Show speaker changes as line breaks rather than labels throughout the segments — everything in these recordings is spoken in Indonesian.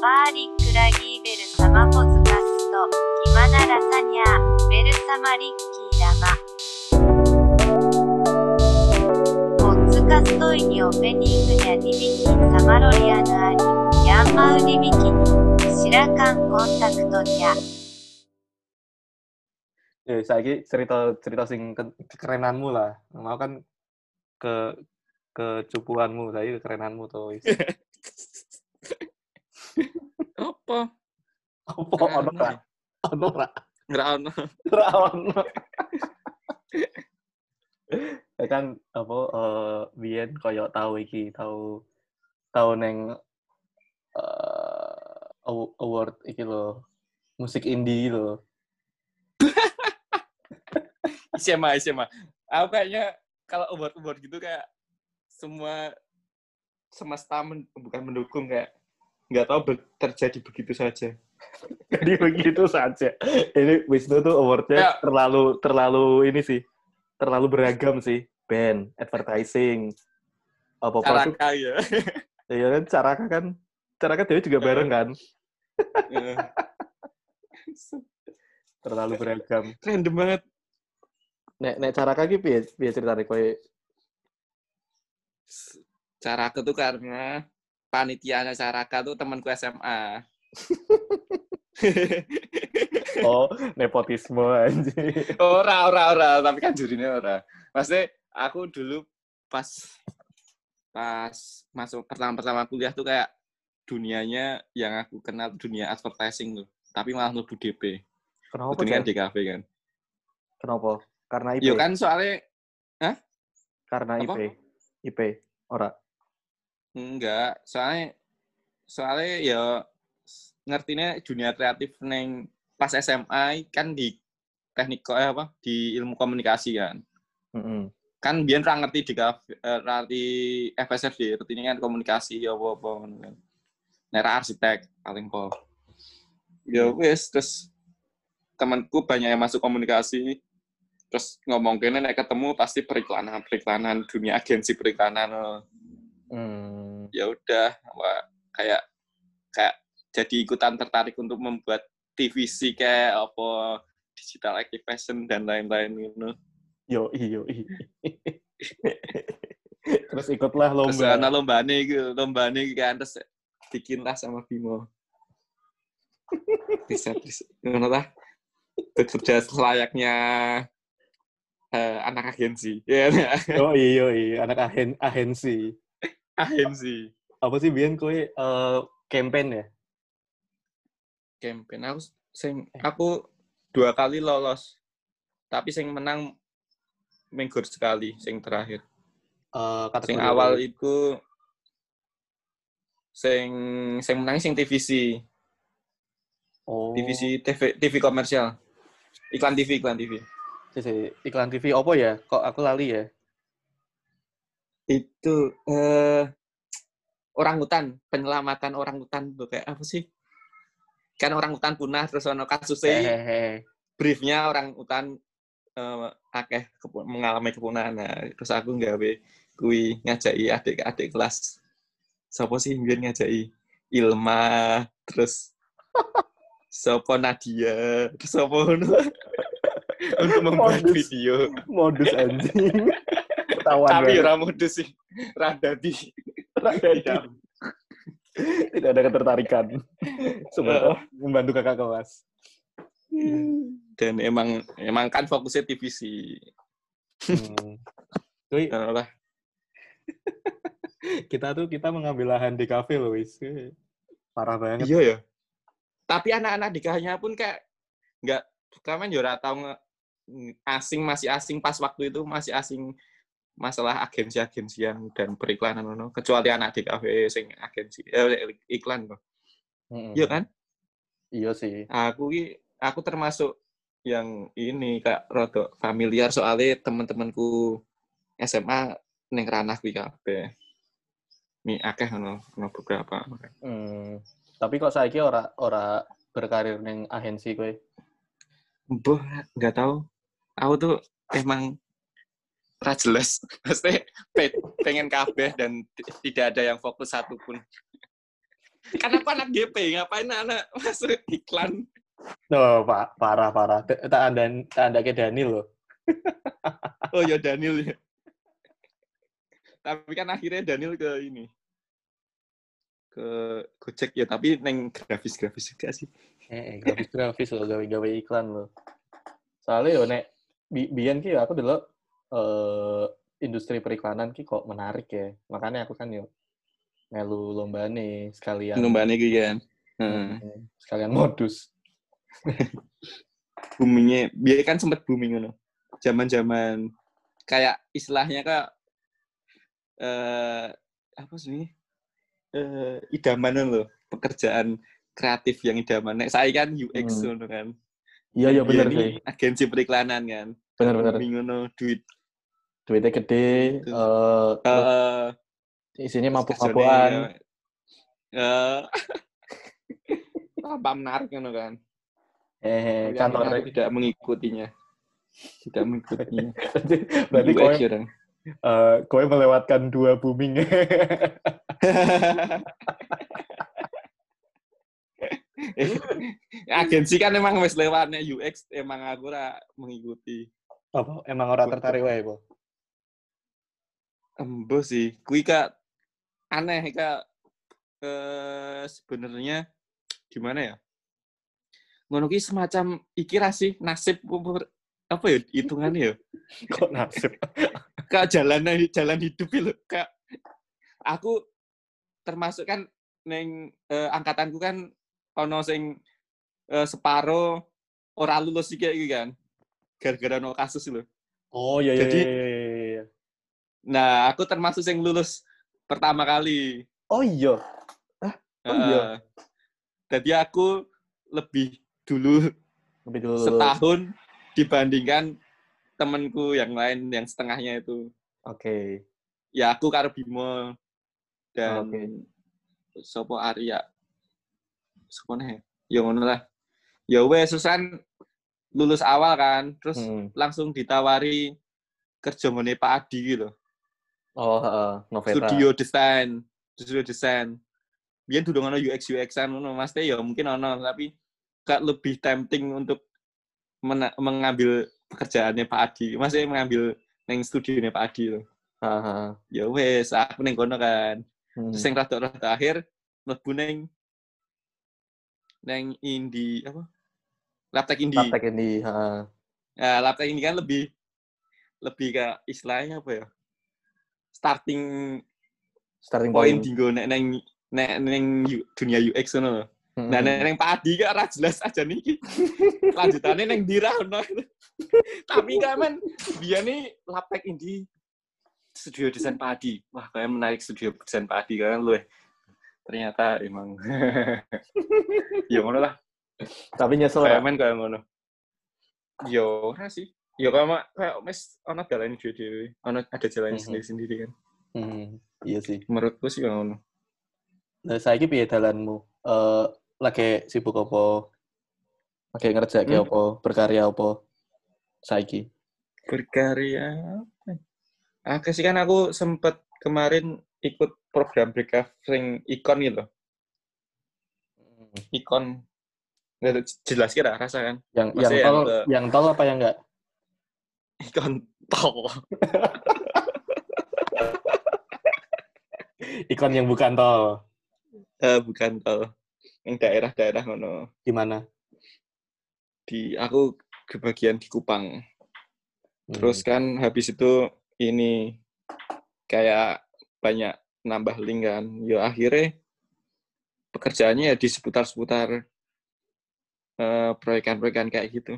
マリックラギーベル様ポズカスト、キマナラサニャー、ベル様リッキー玉。ポッツカストイにオペニングニャニビキン様ロリアヌアリ、ヤンマウニビキニ、シラカンコンタクトニャ。
Ya, saiki cerita cerita sing ke- kekerenanmu lah. Mau kan ke kecupuanmu, saiki kekerenanmu to wis.
Apa?
Apa
Oh,
ono ra? Ono ra?
Nggak ono.
Ra ono. Ya kan apa eh biyen koyo tau iki, tau tau neng eh, aw- award iki lho. Musik indie lho.
SMA, SMA. Aku kayaknya kalau obat-obat gitu kayak semua semesta men- bukan mendukung kayak nggak tahu be- terjadi begitu saja.
Jadi begitu saja. Ini Wisnu tuh awardnya
Ya.
terlalu terlalu ini sih, terlalu beragam sih. Band, advertising, apa apa
Cara
tuh.
kaya.
Ya kan, caraka kan, caraka Dewi juga bareng kan.
Eh,
Terlalu beragam.
Random banget.
Nek nek caraka ki piye piye ceritane kowe?
Cara aku tuh karena panitianya Caraka tuh temanku SMA.
Oh, nepotisme anjir.
ora, ora, ora. Tapi kan jurinya ora. Maksudnya aku dulu pas pas masuk pertama-pertama kuliah tuh kayak dunianya yang aku kenal dunia advertising tuh. Tapi malah mlebu DP.
Kenapa?
Mlebu kan
Jar?
DKV kan.
Kenapa? Karena IP.
Iya kan soalnya
Karena
Apa?
IP. IP. Ora.
enggak. Soalnya soalnya ya ngertinya dunia kreatif neng pas SMA kan di teknik ko- eh, apa di ilmu komunikasi kan.
Heeh.
kan biar ra ngerti di kafe eh, ra ngerti FSFD ini kan komunikasi ya apa apa ngono kan Nek ra arsitek paling po ya wis terus temanku banyak yang masuk komunikasi terus ngomong kene nek ketemu pasti periklanan periklanan dunia agensi periklanan eh.
Hmm.
ya udah wah, kayak kayak jadi ikutan tertarik untuk membuat TVC kayak apa digital activation dan lain-lain gitu.
Yo iyo Terus ikutlah
Terus ana
lomba.
lombane iki, lombane iki kan terus bikin lah sama Bimo. Riset, riset. Ngono ta? Bekerja selayaknya eh, anak agensi. Ya,
Yo iyo anak ahen ahensi.
agensi.
Apa sih Bian kowe eh campaign ya?
Campaign aku sing aku dua kali lolos. Tapi sing menang minggu sekali sing terakhir.
Eh
sing awal itu sing sing menang sing TVC
oh.
TVC TV TV komersial iklan TV iklan TV
Si- si, iklan TV opo ya? Kok aku lali ya?
itu eh orang hutan penyelamatan orang hutan tuh kayak apa sih kan orang hutan punah terus ono kasusnya
Hehehe.
briefnya orang hutan eh, akeh kepu- mengalami kepunahan nah, terus aku nggawe kui ngajai adik-adik kelas siapa sih mungkin ngajai Ilma terus siapa Nadia terus siapa ngono. untuk membuat
Modus.
video
Modus anjing. Ketahuan.
tapi
banget.
ya, ora modus sih rada di
Tidak. Tidak ada ketertarikan. Sebenarnya membantu kakak kelas.
dan emang emang kan fokusnya TVC
Hmm. Kuy,
Nah, lah
kita tuh kita mengambil lahan di kafe loh, wis. Parah banget.
iya ya tapi anak-anak nikahnya pun kayak nggak kalian ya ora tahu nge- ng- asing masih asing pas waktu itu masih asing masalah agensi-agensian dan periklanan ngono kecuali anak di kafe sing agensi eh, iklan kok
Mm-mm.
iya kan
Iya sih.
aku ki- aku termasuk yang ini kak rodok familiar soalnya teman-temanku SMA neng ranah kuwi kabeh mi akeh ngono ngono beberapa
Hmm. Tapi kok saiki ora ora berkarir ning agensi kowe?
Boh, nggak tahu. Aku tuh emang ra jelas. Maksudnya pe- pengen kabeh dan t- tidak ada yang fokus satupun. Karena aku anak GP, ngapain anak masuk iklan?
Oh, pak, parah parah. Te- Tak ada tak ada ke Dani loh.
Oh ya Daniel ya. Tapi kan akhirnya Daniel ke ini. Ke Gojek ya, tapi neng grafis-grafis juga sih.
Eh, eh, grafis grafis loh, gawe-gawe iklan loh. Soalnya yo nek bi biyen ki aku dulu eh industri periklanan ki kok menarik ya. Makanya aku kan yo melu lomba nih sekalian Hmm,
Lombanya gitu kan. Heeh.
Ya. sekalian modus.
boomingnya biar kan sempet booming ngono zaman zaman kayak istilahnya kak eh apa sih eh idaman loh pekerjaan kreatif yang idaman Nek saya kan UX
Hmm.
ngono kan
Iya iya
Biyen
bener
ini
sih.
agensi periklanan kan
Bener bener.
booming ngono duit
Duitnya gede,
Gitu.
eh terus
eh
isinya mabuk-mabukan.
kerjanya ya, eh apa menarik ngono kan
Eh,
Tapi akhirnya
kantornya
aku tidak mengikutinya tidak mengikutinya
berarti berarti
Aku
kowe
aja orang.
eh, kowe melewatkan dua booming.
Eh, agensi kan emang wes lewatnya UX emang aku ora mengikuti
Apa emang orang tertarik wae, Po?
embo sih kui kak aneh kak eh sebenarnya gimana ya ngono ki semacam iki ra sih nasib umur apa ya hitungannya ya
Kok nasib?
kak jalan jalan hidup ya lho, kak aku termasuk kan neng eh, angkatanku kan ono sing eh, separo ora lulus iki iki kan gara-gara no kasus lho
Oh iya iya.
Jadi-
iya, iya, iya.
nah aku termasuk yang lulus pertama kali
Oh iya. Oh, iya.
Heeh. jadi aku lebih dulu
Lebih dulu.
setahun dibandingkan temanku yang lain yang setengahnya itu
Oke.
ya aku karo Bimo dan
Oke.
sopo Arya sopo nih ya ngono lah ya wes Susan lulus awal kan terus
Hmm.
langsung ditawari kerja ngene Pak Adi gitu loh.
Oh, heeh, Noveta.
studio desain studio desain biar dulu ngono UX UXan ngono maksudnya ya mungkin ono tapi gak lebih tempting untuk mena- mengambil pekerjaannya Pak Adi maksudnya mengambil neng studionya Pak Adi loh.
Heeh.
ya wes aku neng kono kan
Hmm.
Terus yang rada-rada akhir mlebu neng neng indi apa? Laptek indi. Laptek.
Praktek ini, heeh.
laptek indi kan lebih lebih ke istilahnya apa ya? Starting
Starting
point
point.
dinggo nek neng nek neng U- dunia UX ngono lho.
Hmm.
Nah nek neng Pak Adi kan ora jelas aja niki. Lanjutannya neng dirah ono. Tapi kan men dia nih laptek indi studio desain Pak Adi. Wah, kalian menarik studio desain Pak Adi kalian loh. eh. Ternyata emang ya ngono lah.
Tapi nyesel ora?
Kayak men kayak ngono. Ya ora sih. Ya kayak mak- kayak mes ana jalan dhewe-dhewe, ana ada jalan
Mhm.
sendiri-sendiri kan.
Hmm. Iya sih.
Menurutku sih ya ngono.
Nah, saiki piye dalanmu? Eh, lagi sibuk apa? Lagi ngerjake
Hmm.
apa? Berkarya apa? Saiki.
Berkarya apa? Ah, sih kan aku sempet kemarin ikut program recovering ikon gitu. loh. Ikon. Nggak tahu, jelas kira rasa kan.
Yang yang
Maksudnya
tol,
yang ke-
yang tol apa yang enggak?
Ikon tol.
Ikon yang bukan tol.
Eh, bukan tol. Yang daerah-daerah ngono.
Di mana?
Di aku kebagian di Kupang.
Hmm.
Terus kan habis itu ini kayak banyak nambah link kan. Ya akhirnya pekerjaannya ya di seputar-seputar eh, proyekan-proyekan kayak gitu.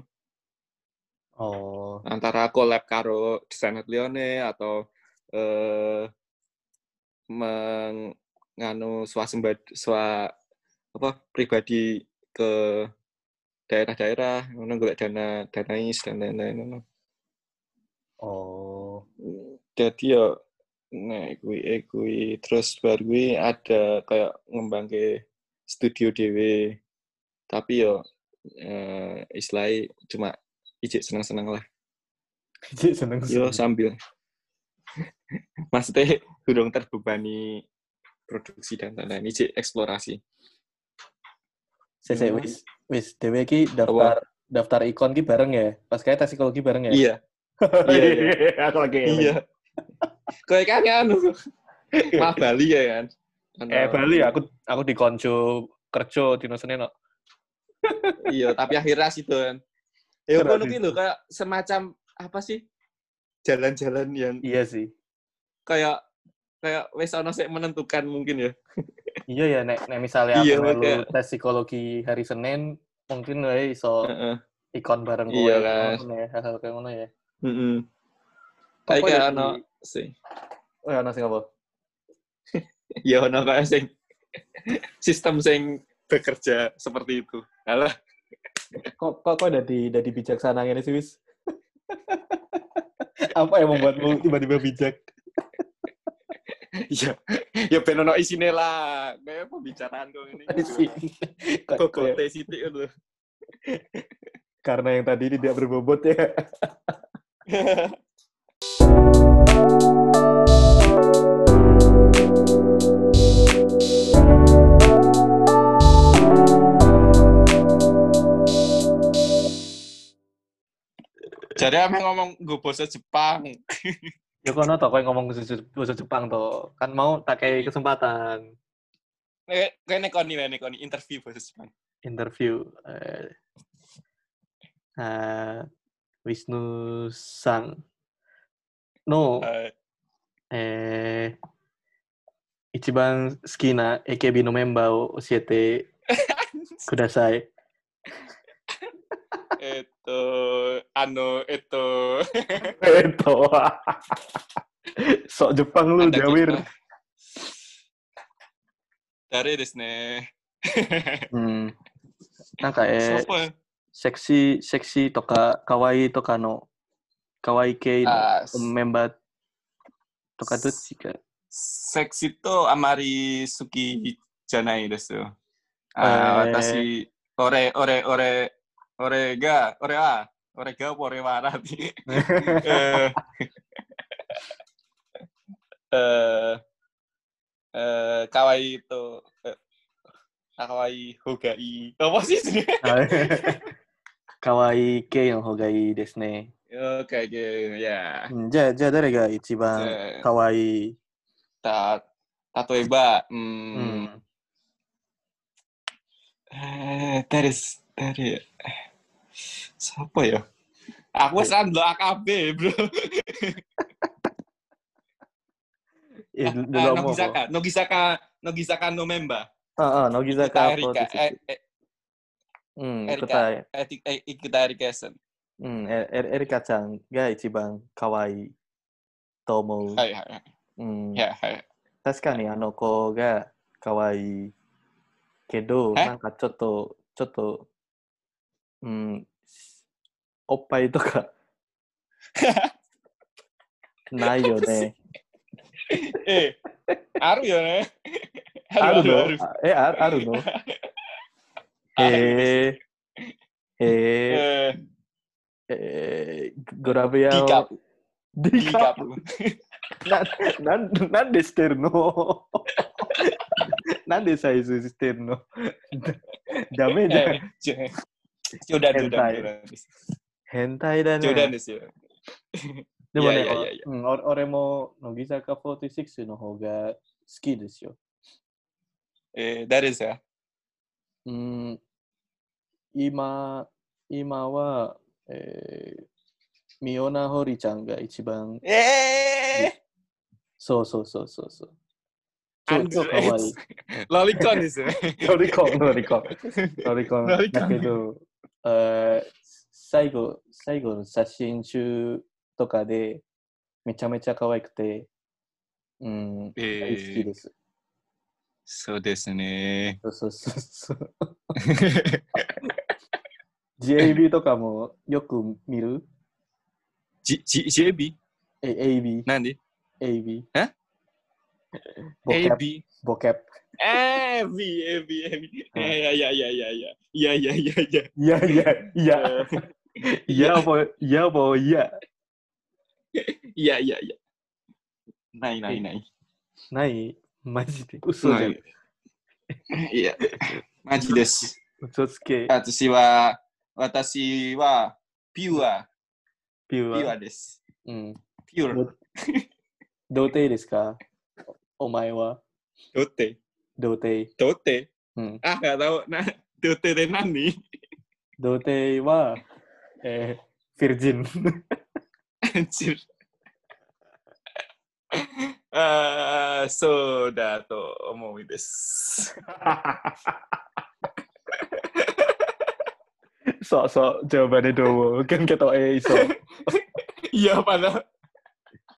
Oh,
Antara collab karo desainer Lione atau eh menganu swasembad swa apa pribadi ke daerah-daerah ngono golek dana danais dan lain-lain ngono.
oh.
jadi ya nek kuwi eh, kuwi terus bar kuwi ada kayak ngembangke studio dhewe tapi yo eh istilahnya cuma ijik seneng-seneng lah
Cik seneng
yo sambil maksudnya durung terbebani produksi dan lain-lain ini sih eksplorasi
Saya saya wis wis dhewe ki daftar daftar ikon ki bareng ya. Pas kayak tes psikologi bareng ya.
iya
Iya, iya.
Aku lagi.
iya kayak kan anu malah Bali ya kan
Eh Bali aku aku di konco kerja dino Senin kok.
iya tapi akhirnya sih tuh kan ya
Keren
kono ki lho kayak semacam apa sih jalan-jalan yang
Iya sih.
kayak kayak wes ono sing menentukan mungkin ya
Iya ya nek nek misalnya aku
Iya,
melu
kayak-
tes psikologi hari Senin mungkin wae iso
Heeh.
ikon bareng kowe.
Iya, kan.
ngono ya, hal-hal kayak ngono ya.
Heeh. Tapi
Apa ya,
kayak
di-
ono sih
Oh, ya, ono sing apa?
ya ono kayak sing sistem sing bekerja seperti itu. Alah,
Kok kok kok dari dari bijaksana ngene sih wis? apa yang membuatmu tiba-tiba bijak?
ya ya ben ono isine lah. Kayak pembicaraan kok ini.
sih?
Iya. Kok teh sithik lho.
Karena yang tadi tidak berbobot ya.
Jadi ame ngomong nggo bahasa Jepang.
Ya kono toh, kau yang ngomong bahasa Jep- bahasa Jepang toh. Kan mau tak kayak kesempatan
Kayak kayak nekoni wae nekoni interview bahasa Jepang.
interview. Eh, eh, Wisnu Sang. No,
Eh,
eh, Ichiban Skina, AKB no member o Osiete Kudasai.
Eto ano eto
Itu. Sok Jepang lu,
Anda
Jawir.
kita. Dari desu ne.
Hmm. Nah, kayak
Sopo ya?
seksi, seksi toka, kawaii toka no, kawaii kei no
Ah,
member toka jika.
Seksi to amari suki janai desu. Ah, watashi ore ore ore ore ga ore wa ore ga apa ore warati. Eh eh, eh kawaii to eh, kawaii hogai. Apa sih sih?
kawaii kei no hogai desu ne.
Oke, oke, ya.
Hmm, Ja, ja, dare ga ichiban
Eh,
kawaii?
Ta tato eba. Hmm.
Hmm.
Eh, dari dari siapa ya? Aku sekarang dulu AKB, bro.
Eh,
Ah,
dulu mau
ah,
apa?
Nogisaka, Nogisaka, Nogisaka Nomemba.
Ah, ah, Nogizaka
Kita
apa
Erika,
di situ?
eh, eh,
Hmm,
Erika.
kota-
eh, ti- eh, kita Erika-san.
hmm, Er- Er- Erika-chan ga ichiban kawaii to omou.
Hai, hai, hai.
Hmm.
Ya, hai.
確かにあの子が可愛いけど、
え
なんかちょっと、ちょっと、うん、おっぱいと かないよね。
Eh, Aru ya, ne?
あ
Aru,
る
Aru.
のあえ、ああるのへえ、へえ、
Eh,
えー、グラビア
Dikap,
を。デ
Dikap.
ななんなんでしてるの なんでサイズしてるの ダメじゃ
Eh,
ん。
J- Jodan, Jodan,
Hentai.
Jodan.
変態だね。
Jodan desu ya.
でもね、
いやいやいやいや
うん、俺俺も乃木坂46の方が好きですよ。
Eh, dari desu ya.
うん、今、今は、えー、ミオナホリちゃんが一番、
Eh,
そうそうそうそうそう。超
Andre
超かわいい。
Lolicon desu ya.
ロリコン、ロリコ ン。ロリコン。
ロリコン
だけど、えー最後、最後の写真集とかで、めちゃめちゃ可愛くて、うん、
えー
大好きです。
そうですね。
そうそうそうそう。JB とかもよく見る
J- J- JB?
え、AB、
なんで
AB。
え
ボキャプ、
?AB?
ボキャプ。
AB, AB, AB. いやいやいやいやいや。いやいやいやいや。
いやいや、いや、いやもう、いやもう、いや。
いやいやいや。ないないない。
ないマジで嘘じゃん。
いや、マジです。
嘘つけ、
私は、私は、ピュア、
ピ
ピ
ュ
ュア
ア。
です。
うん。
ピュア。
童貞ですかお前は
どって、
童貞。
どって、
うん。
あ、gak tahu. Nah, dote de nani?
童貞は、えー、virgin。
Anjir. Ah, soda to omoi desu.
Sok-sok jawabannya dowo. Kan ketok iso.
Iya, padahal